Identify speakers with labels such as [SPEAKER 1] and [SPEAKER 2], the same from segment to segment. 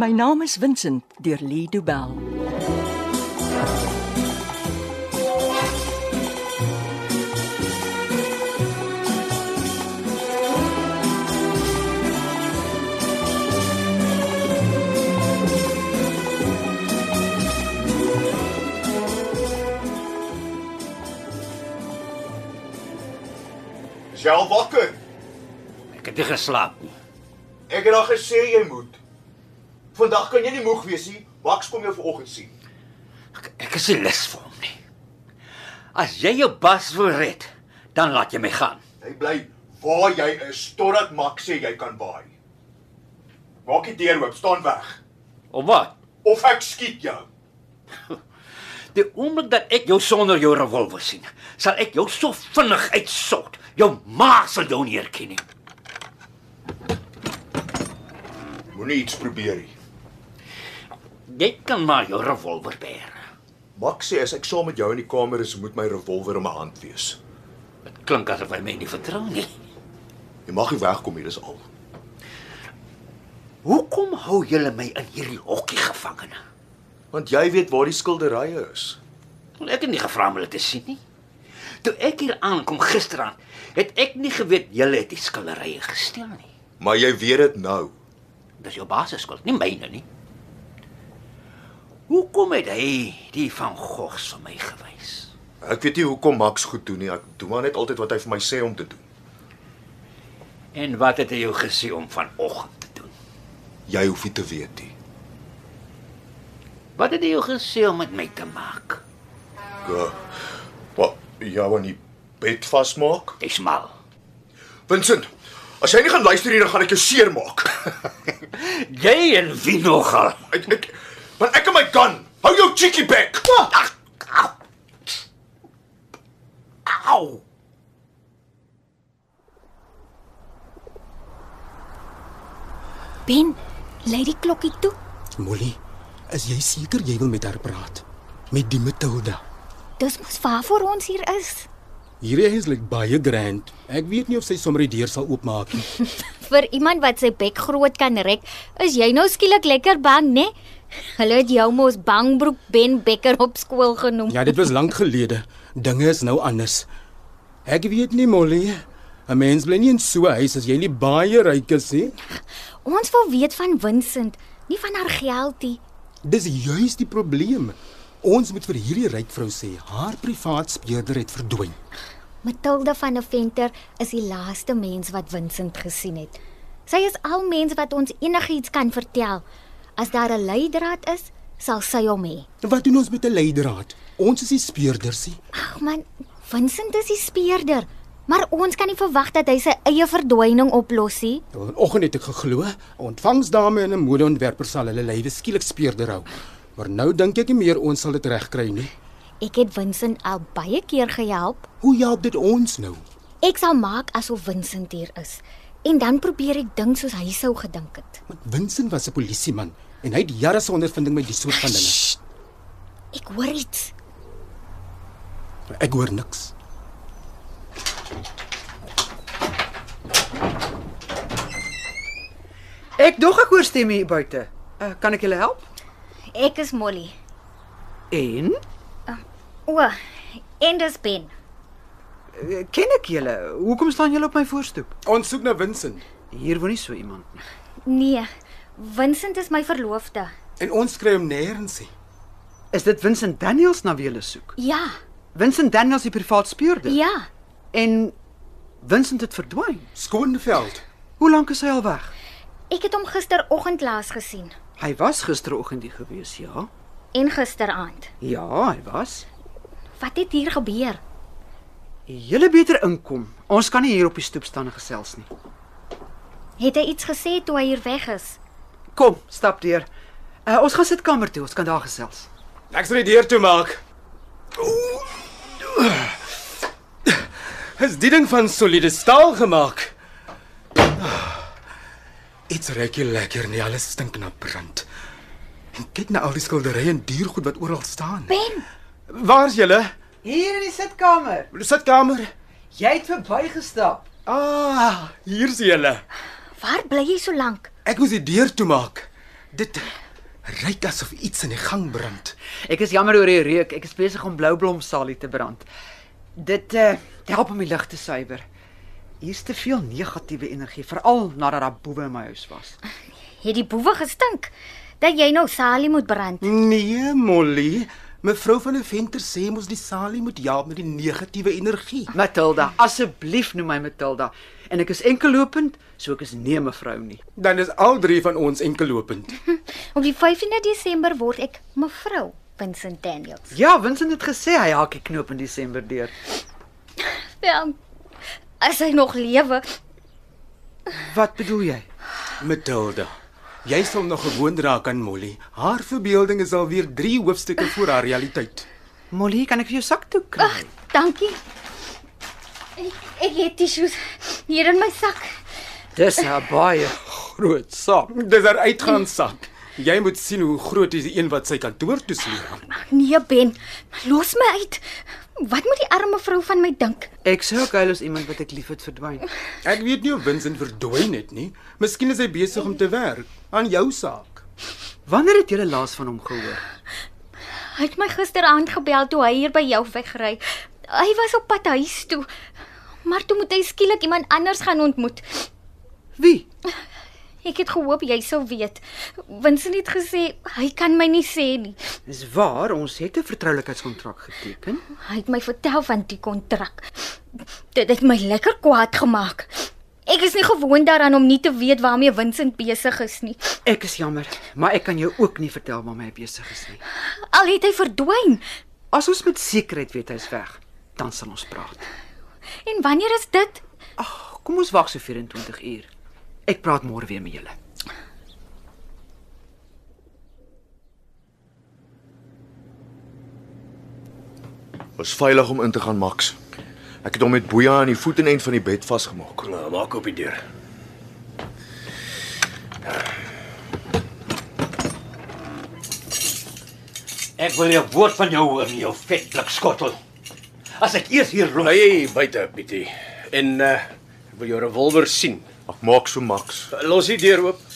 [SPEAKER 1] My naam is Vincent deur Lee Du Bell.
[SPEAKER 2] Is jy al wakker?
[SPEAKER 3] Ek het nie geslaap nie.
[SPEAKER 2] Ek het al gesê jy moet. Vandag kan jy nie moeg wees nie. Max kom jou vanoggend sien.
[SPEAKER 3] Ek, ek is nie lus vir hom nie. As jy jou bas wil red, dan laat jy my gaan.
[SPEAKER 2] Hy bly waar jy is totdat Max sê jy kan waai. Maak die deur oop, staan weg
[SPEAKER 3] Of wat?
[SPEAKER 2] of ek skiet jou.
[SPEAKER 3] Die oomblik dat ek jou sonder jou revolver sien, sal ek jou so vinnig uitsort. Jou ma sal jou nie herken nie.
[SPEAKER 2] Moenie iets probeer nie.
[SPEAKER 3] Jy kan maar jou revolver beheer.
[SPEAKER 2] Max sê as ek saam met jou in die kamer is, moet my revolver in my hand wees.
[SPEAKER 3] Dit klink asof hy my nie vertrou nie.
[SPEAKER 2] Jy mag nie wegkom hier, dis al.
[SPEAKER 3] Hoekom hou julle my in hierdie hokkie gevangene?
[SPEAKER 2] Want jy weet waar die skilderye is.
[SPEAKER 3] Wel, Ek het nie gevra om hulle te sien nie. Toe ek hier aankom gisteraan, het ek nie geweet julle het die skilderye gesteel nie.
[SPEAKER 2] Maar jy weet dit nou.
[SPEAKER 3] Dis jou baas se skuld, nie myne nie. Hoekom het hy die van Gogs vir my gewys?
[SPEAKER 2] Ek weet nie hoekom Max goed doen nie. Ek doen maar net altyd wat hy vir my sê om te doen.
[SPEAKER 3] En wat het hy jou gesê om vanoggend te doen?
[SPEAKER 2] Jy hoef nie te weet nie.
[SPEAKER 3] Wat het hy jou gesê om met my te maak?
[SPEAKER 2] Go. Wat jou aan die ja, bed vasmaak?
[SPEAKER 3] Jy's mal.
[SPEAKER 2] Vincent, as jy nie gaan luister hier dan gaan ek jou seermaak.
[SPEAKER 3] Jy en wie nogal?
[SPEAKER 2] ek ek want ek en my gun. Hou jou cheeky back.
[SPEAKER 3] Ag, Au. Au.
[SPEAKER 4] Ben, lê die klokkie toe.
[SPEAKER 5] Molly, is jy seker jy wil met haar praat? Met die Matilda?
[SPEAKER 4] Dis mos waarvoor ons hier is.
[SPEAKER 5] Hierdie is like baie grand. Ek weet nie of sy sommer die deur sal oopmaak nie.
[SPEAKER 4] Vir iemand wat sy bek groot kan rek, is jy nou skielik lekker bang, né? Hulle het jou mos Bangbroek Ben Becker op skool genoem.
[SPEAKER 5] Ja, dit was lank gelede. Dinge is nou anders. Ek weet nie, Molly. 'n Mens bly nie in so 'n huis as jy nie baie ryk is nie.
[SPEAKER 4] Ons wil weet van Vincent, nie van haar geldie.
[SPEAKER 5] Dis juis die probleem. Ons moet vir hierdie ryk vrou sê, haar privaat speurder het verdwyn.
[SPEAKER 4] Matilda van Aventer is die laaste mens wat Vincent gesien het. Sy is al mens wat ons enigiets kan vertel. As daar 'n leidraad is, sal sy hom hê.
[SPEAKER 5] Wat doen ons met 'n leidraad? Ons is die speurders, nie?
[SPEAKER 4] Ag man, Vincent is die speerder, maar ons kan nie verwag dat hy sy eie verdwyning oplos nie.
[SPEAKER 5] Vanoggend het ek geglo, 'n ontvangsdame en 'n modeontwerper sal hulle lywe skielik speurder hou. Maar nou dink ek nie meer ons sal dit regkry nie.
[SPEAKER 4] Ek het Vincent al baie keer gehelp.
[SPEAKER 5] Hoe help dit ons nou?
[SPEAKER 4] Ek sal maak asof Vincent hier is en dan probeer ek dink soos hy sou gedink het.
[SPEAKER 5] Want Vincent was 'n polisieman en hy het jare se ondervinding met die soort van dinge.
[SPEAKER 4] Sst, Ek hoor iets.
[SPEAKER 5] Ek hoor niks.
[SPEAKER 6] Ek dog ek hoor stemme hier buite. Uh, kan ek julle help?
[SPEAKER 4] Ek is Molly.
[SPEAKER 6] En
[SPEAKER 4] O, en dis Ben.
[SPEAKER 6] uh, ken ek julle? Hoekom staan julle op my voorstoep?
[SPEAKER 5] Ons soek na Vincent
[SPEAKER 6] Hier woon nie so iemand nie.
[SPEAKER 4] Nee, Vincent is my verloofde.
[SPEAKER 5] en ons kry hom nêrens nie.
[SPEAKER 6] Is dit Vincent Daniels na wie julle soek?
[SPEAKER 4] Ja,
[SPEAKER 6] Vincent Daniels die privaat speurder.
[SPEAKER 4] ja.
[SPEAKER 6] En Vincent het verdwyn.
[SPEAKER 5] Skoonveld.
[SPEAKER 6] Hoe lank is hy al weg?
[SPEAKER 4] Ek het hom gisteroggend laas gesien
[SPEAKER 6] Hy was gisteroggend hier gewees, ja.
[SPEAKER 4] en gisteraand.
[SPEAKER 6] Ja, hy was.
[SPEAKER 4] Wat het hier gebeur?
[SPEAKER 6] Julle beter inkom. Ons kan nie hier op die stoep staan en gesels nie.
[SPEAKER 4] Het hy iets gesê toe hy hier weg is?
[SPEAKER 6] Kom, stap deur. Uh, ons gaan sit kamer toe, ons kan daar gesels.
[SPEAKER 5] Ek sal die deur toe maak. Is die ding van soliede staal gemaak? Dit's regtig lekker nie, alles stink na brand. En kyk na al die skilderye en diergoed wat oral staan.
[SPEAKER 4] Ben,
[SPEAKER 5] Waar's julle?
[SPEAKER 6] Hier in die sitkamer.
[SPEAKER 5] Sitkamer.
[SPEAKER 6] Jy het verbygestap.
[SPEAKER 5] Ah, hier's julle.
[SPEAKER 4] waar bly jy so lank?
[SPEAKER 5] Ek moes die deur toemaak. Dit ryk asof iets in die gang brand.
[SPEAKER 6] Ek is jammer oor die reuk. Ek is besig om bloublomsalie te brand. Dit eh help om die lug te suiwer. Hier's te veel negatiewe energie, veral nadat daar boewe in my huis was.
[SPEAKER 4] Het die boewe gestink dat jy nou salie moet brand?
[SPEAKER 5] Nee, Molly. Mevrou van der Venter sê mos die salie moet jaag met die negatiewe energie.
[SPEAKER 6] Matilda, asseblief noem my Matilda. En ek is enkellopend, so ek is nie 'n mevrou nie.
[SPEAKER 5] Dan is al drie van ons enkellopend.
[SPEAKER 4] Op die 15de Desember word ek mevrou Vincent Daniels.
[SPEAKER 6] Ja, Vincent het gesê hy haak die knoop in Desember deur.
[SPEAKER 4] Wel, as hy nog lewe,
[SPEAKER 6] Wat bedoel jy?
[SPEAKER 5] Matilda, jy sal nog gewoond raak aan Molly. Haar verbeelding is alweer 3 hoofstukke voor haar realiteit.
[SPEAKER 6] Molly, kan ek vir jou sak toe
[SPEAKER 4] Ag,
[SPEAKER 6] kry?
[SPEAKER 4] dankie. Ek, ek het tissues hier in my sak.
[SPEAKER 6] Dis 'n baie
[SPEAKER 5] Groot saak. Dis haar uitgaansak. Jy moet sien hoe groot is die een wat sy kantoor toe sleep.
[SPEAKER 4] Nee, Ben, los my uit. Wat moet die arme vrou van my dink?
[SPEAKER 6] Ek sou ook huil as iemand wat ek liefhet verdwyn.
[SPEAKER 5] Ek weet nie of Vincent verdwyn het nie. Miskien is hy besig om te werk aan jou saak.
[SPEAKER 6] Wanneer het jy laas van hom gehoor?
[SPEAKER 4] Hy het my gisteraand gebel toe hy hier by jou wegry. Hy was op pad huis toe. Maar toe moet hy skielik iemand anders gaan ontmoet.
[SPEAKER 6] Wie?
[SPEAKER 4] Ek het gehoop jy sou weet. Vincent het gesê hy kan my nie sê nie.
[SPEAKER 6] Dis waar, ons het 'n vertroulikheidskontrak geteken.
[SPEAKER 4] Hy het my vertel van die kontrak. Dit het my lekker kwaad gemaak. Ek is nie gewoond daaraan om nie te weet waarmee Vincent besig is nie.
[SPEAKER 6] Ek is jammer, maar ek kan jou ook nie vertel waarmee hy besig is nie.
[SPEAKER 4] Al het hy verdwyn.
[SPEAKER 6] As ons met sekerheid weet hy's weg, dan sal ons praat.
[SPEAKER 4] En wanneer is dit?
[SPEAKER 6] Ag, kom ons wag so 24 uur. Ek praat môre weer met julle.
[SPEAKER 2] Was veilig om in te gaan, Max. Ek het hom met boeie aan die voetenend van die bed vasgemaak.
[SPEAKER 3] Nou, maak op die deur. Ek wil jou woord van jou in jou vetlik skottel. As ek eers hier
[SPEAKER 7] Bly
[SPEAKER 3] ry,
[SPEAKER 7] jy buite, Pietie. En uh ek wil jou revolver sien.
[SPEAKER 2] Ag, maak so, Max.
[SPEAKER 7] Los die deur oop.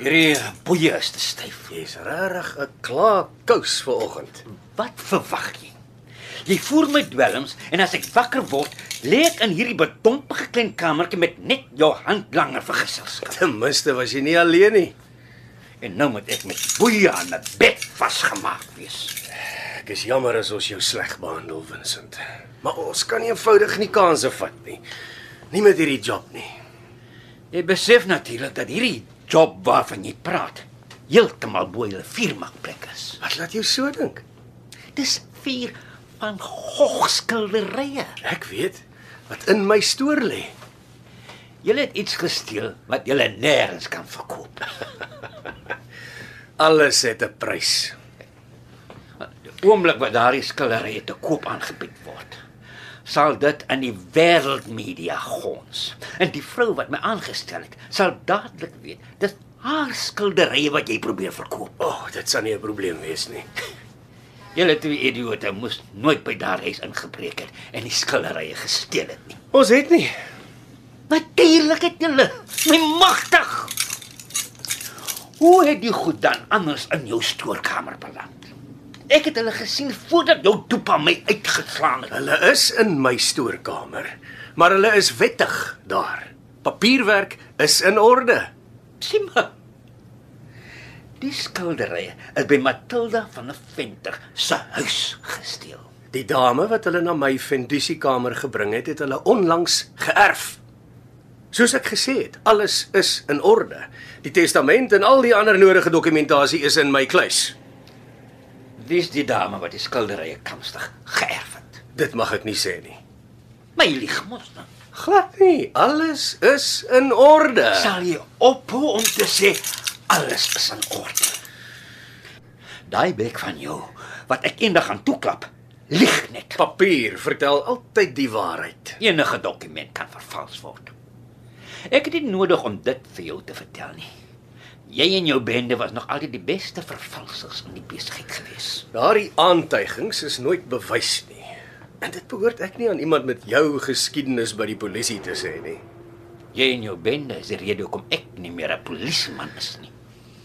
[SPEAKER 3] hierdie boeie is te styf.
[SPEAKER 7] Jy's regtig 'n klaar kous vanoggend.
[SPEAKER 3] Wat verwag jy? Jy voer my dwelms en as ek wakker word, lê ek in hierdie bedompige klein kamertjie met net jou handlanger vir geselskap.
[SPEAKER 7] Ten minste was jy nie alleen nie.
[SPEAKER 3] En nou moet ek met boeie aan 'n bed vasgemaak wees.
[SPEAKER 7] Ek is jammer as ons jou sleg behandel, Vincent. Maar ons kan nie eenvoudig nie kanse vat nie. Nie met hierdie job nie.
[SPEAKER 3] Jy besef natuurlik dat hierdie job waarvan jy praat heeltemal bo julle vuurmaakplek is.
[SPEAKER 7] Wat laat jou so dink?
[SPEAKER 3] Dis vuur van Gogh skilderye.
[SPEAKER 7] Ek weet wat in my stoor lê.
[SPEAKER 3] Julle het iets gesteel wat julle nêrens kan verkoop.
[SPEAKER 7] Alles het 'n prys.
[SPEAKER 3] Die oomblik wat daardie skilderye te koop aangebied word, sal dit in die wêreldmedia gons. En die vrou wat my aangestel het, sal dadelik weet dis haar skilderye wat jy probeer verkoop.
[SPEAKER 7] O, oh, dit sal nie 'n probleem wees nie.
[SPEAKER 3] Julle twee idioote moes nooit by daardie huis ingebreek het en die skilderye gesteel het nie.
[SPEAKER 7] Ons het nie.
[SPEAKER 3] Natuurlik het julle my magtig. Hoe het die goed dan anders in jou stoorkamer beland? Ek het hulle gesien voordat jou dopa my uitgeslaan het.
[SPEAKER 7] Hulle is in my stoorkamer, maar hulle is wettig daar. Papierwerk is in orde.
[SPEAKER 3] Sien maar. Die skilderye is by Matilda van der Venter se huis gesteel.
[SPEAKER 7] Die dame wat hulle na my vendusiekamer gebring het, het hulle onlangs geërf. Soos ek gesê het, alles is in orde. Die testament en al die ander nodige dokumentasie is in my kluis.
[SPEAKER 3] Dis die dame wat die skilderye kamstig geërf het.
[SPEAKER 7] Dit mag ek nie sê nie.
[SPEAKER 3] My lieg mos nou.
[SPEAKER 7] Glad nie. Alles is in orde.
[SPEAKER 3] Sal jy ophou om te sê alles is in orde? Daai bek van jou wat ek eendag gaan toeklap, lieg net.
[SPEAKER 7] Papier vertel altyd die waarheid.
[SPEAKER 3] Enige dokument kan vervals word. Ek het nie nodig om dit vir jou te vertel nie. Jy en jou bende was nog altyd die beste vervalsers in die besigheid gewees.
[SPEAKER 7] Daardie aantuigings is nooit bewys nie. En dit behoort ek nie aan iemand met jou geskiedenis by die polisie te sê nie.
[SPEAKER 3] Jy en jou bende is die rede hoekom ek nie meer 'n polisieman is nie.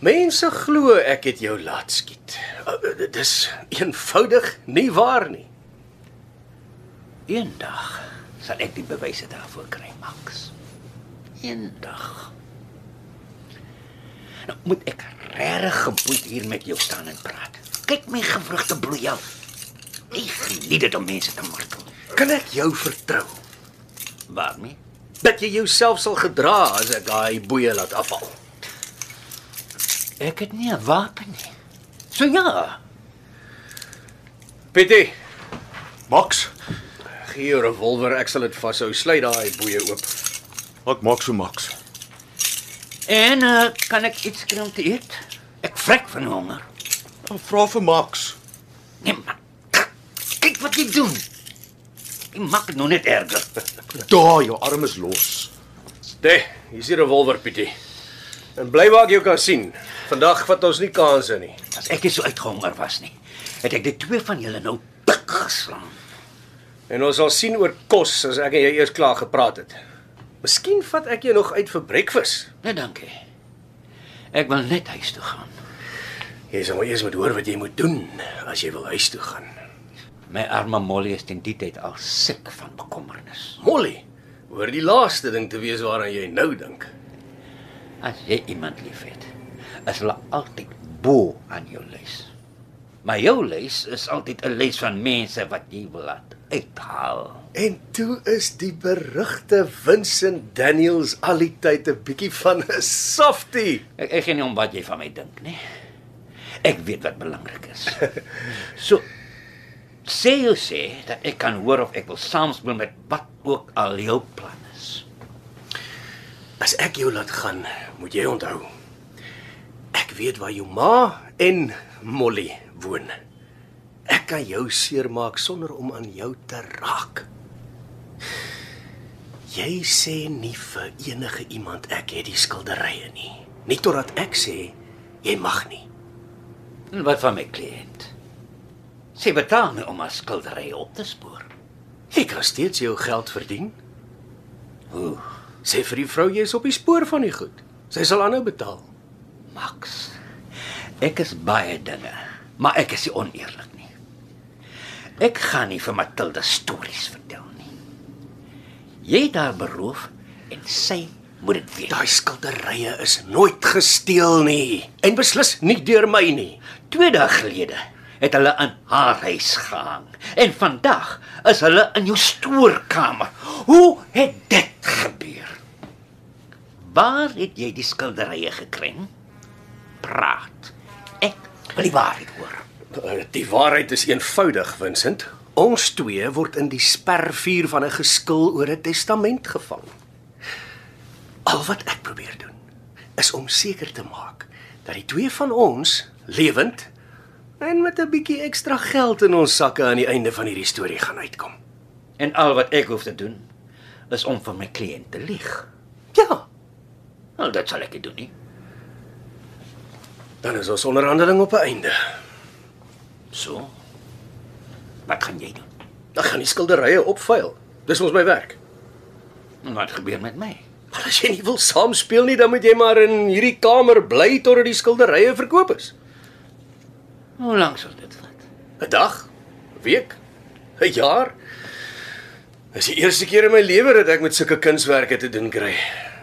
[SPEAKER 7] Mense glo ek het jou laat skiet. Uh, Dit is eenvoudig nie waar nie.
[SPEAKER 3] Eendag sal ek die bewyse daarvoor kry, Max. Eendag. Nou moet ek regtig geboeid hier met jou staan en praat. Kyk my gevrugte bloei af. Ek geniet dit om mense te martel.
[SPEAKER 7] Kan ek jou vertrou
[SPEAKER 3] Waarmee?
[SPEAKER 7] dat jy jouself sal gedra as ek daai boeie laat afhaal?
[SPEAKER 3] Ek het nie 'n wapen nie. So ja,
[SPEAKER 7] Pietie,
[SPEAKER 2] Max,
[SPEAKER 7] gee jou revolver, ek sal dit vashou. Sluit daai boeie oop.
[SPEAKER 2] wat maak so Max?
[SPEAKER 3] en uh, kan ek iets kry om te eet? Ek vrek van honger.
[SPEAKER 2] Vra vir Max.
[SPEAKER 3] Nee, maar kyk wat jy doen. Jy maak dit nou net erger.
[SPEAKER 2] Daar, jou arm is los.
[SPEAKER 7] Dê, hier's die revolver, Pietie. En bly waar ek jou kan sien. Vandag vat ons nie kansse nie.
[SPEAKER 3] As ek nie so uitgehonger was nie, het ek die twee van julle nou pik geslaan.
[SPEAKER 7] En ons sal sien oor kos as ek en jy eers klaar gepraat het. Miskien vat ek jou nog uit vir breakfast.
[SPEAKER 3] Nee, dankie. Ek wil net huis toe gaan.
[SPEAKER 7] Jy sal maar eers moet hoor wat jy moet doen as jy wil huis toe gaan.
[SPEAKER 3] My arme Molly is teen die tyd al siek van bekommernis.
[SPEAKER 7] Molly, hoor die laaste ding te wees waaraan jy nou dink.
[SPEAKER 3] As jy iemand liefhet, is hulle altyd bo aan jou lys. Maar jou lys is altyd 'n lys van mense wat jy wil laat uithaal.
[SPEAKER 7] En toe is die berugte Vincent Daniels al die tyd 'n bietjie van 'n softie.
[SPEAKER 3] Ek ek gee nie om wat jy van my dink nie. Ek weet wat belangrik is. So sê jy sê dat ek kan hoor of ek wil saamspeel met wat ook al jou plan is.
[SPEAKER 7] As ek jou laat gaan, moet jy onthou. Ek weet waar jou ma en Molly woon. Ek kan jou seermaak sonder om aan jou te raak. Jy sê nie vir enige iemand ek het die skilderye nie. Nie totdat ek sê jy mag nie.
[SPEAKER 3] En wat van my kliënt? Sy betaal my om haar skildery op te spoor.
[SPEAKER 7] Jy kan steeds jou geld verdien.
[SPEAKER 3] Hoe,
[SPEAKER 7] Sê vir die vrou jy is op die spoor van die goed. Sy sal aanhou betaal.
[SPEAKER 3] Max? Ek is baie dinge, maar ek is nie oneerlik nie. Ek gaan nie vir Matilda stories vertel nie. Jy het haar beroof en sy moet dit weet.
[SPEAKER 7] Daai skilderye is nooit gesteel nie en beslis nie deur my nie.
[SPEAKER 3] Twee dae gelede het hulle aan haar huis gehang en vandag is hulle in jou stoorkamer. Hoe het dit gebeur? Waar het jy die skilderye gekry? Praat. Ek wil die waarheid hoor.
[SPEAKER 7] Eh, Die waarheid is eenvoudig, Vincent. Ons twee word in die spervuur van 'n geskil oor 'n testament gevang. Al wat ek probeer doen, is om seker te maak dat die twee van ons lewend en met 'n bietjie ekstra geld in ons sakke aan die einde van hierdie storie gaan uitkom.
[SPEAKER 3] En al wat ek hoef te doen is om vir my kliënt te lieg.
[SPEAKER 7] Ja,
[SPEAKER 3] Nou dit sal ek nie doen nie.
[SPEAKER 7] dan is ons onderhandeling op 'n einde.
[SPEAKER 3] So. Wat gaan jy doen?
[SPEAKER 7] Dan gaan die skilderye opvuil. Dis ons my werk.
[SPEAKER 3] En wat gebeur met my?
[SPEAKER 7] Maar as jy nie wil saam speel nie, dan moet jy maar in hierdie kamer bly totdat die skilderye verkoop is.
[SPEAKER 3] Hoe lank sal dit vat?
[SPEAKER 7] 'n Dag, 'n week, 'n jaar. Dis die eerste keer in my lewe dat ek met sulke kunswerke te doen kry.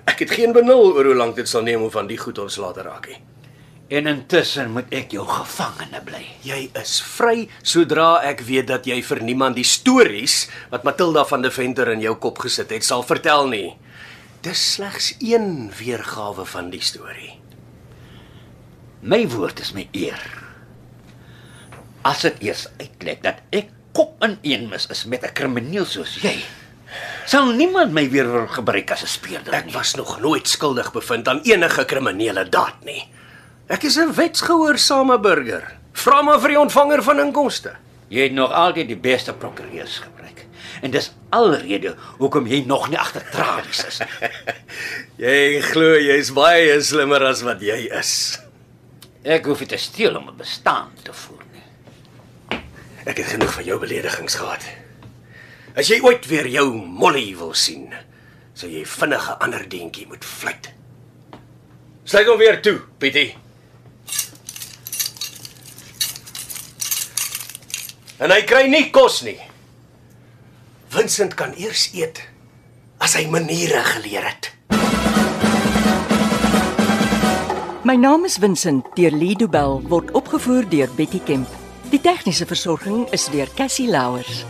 [SPEAKER 7] Ek het geen benul oor hoe lank dit sal neem om van die goed ontslae te raak nie.
[SPEAKER 3] En intussen moet ek jou gevangene bly.
[SPEAKER 7] Jy is vry sodra ek weet dat jy vir niemand die stories wat Matilda van der Venter in jou kop gesit het sal vertel nie. Dis slegs een weergawe van die storie.
[SPEAKER 3] My woord is my eer. As dit eers uitlek dat ek kop in een mis is met 'n krimineel soos jy, sal niemand my weer wil gebruik as 'n speurder
[SPEAKER 7] Ek
[SPEAKER 3] nie.
[SPEAKER 7] was nog nooit skuldig bevind aan enige kriminele daad nie. Ek is 'n wetsgehoorsame burger. Vra maar vir die ontvanger van inkomste.
[SPEAKER 3] Jy het nog altyd die beste prokureurs gebruik. En dis alrede hoekom jy nog nie agter tralies is. nie.
[SPEAKER 7] Jy glo jy's baie slimmer as wat jy is.
[SPEAKER 3] Ek hoef nie te steel om 'n bestaan te voer nie.
[SPEAKER 7] Ek het genoeg van jou beledigings gehad. As jy ooit weer jou Molly wil sien, sou jy vinnig 'n ander deentjie moet vlieg. Sluit hom weer toe, Pietie. En hy kry nie kos nie. Vincent kan eers eet as hy maniere geleer het.
[SPEAKER 1] My naam is Vincent deur Lido Bell word opgevoer deur Betty Kemp. Die tegniese versorging is deur Cassie Louers.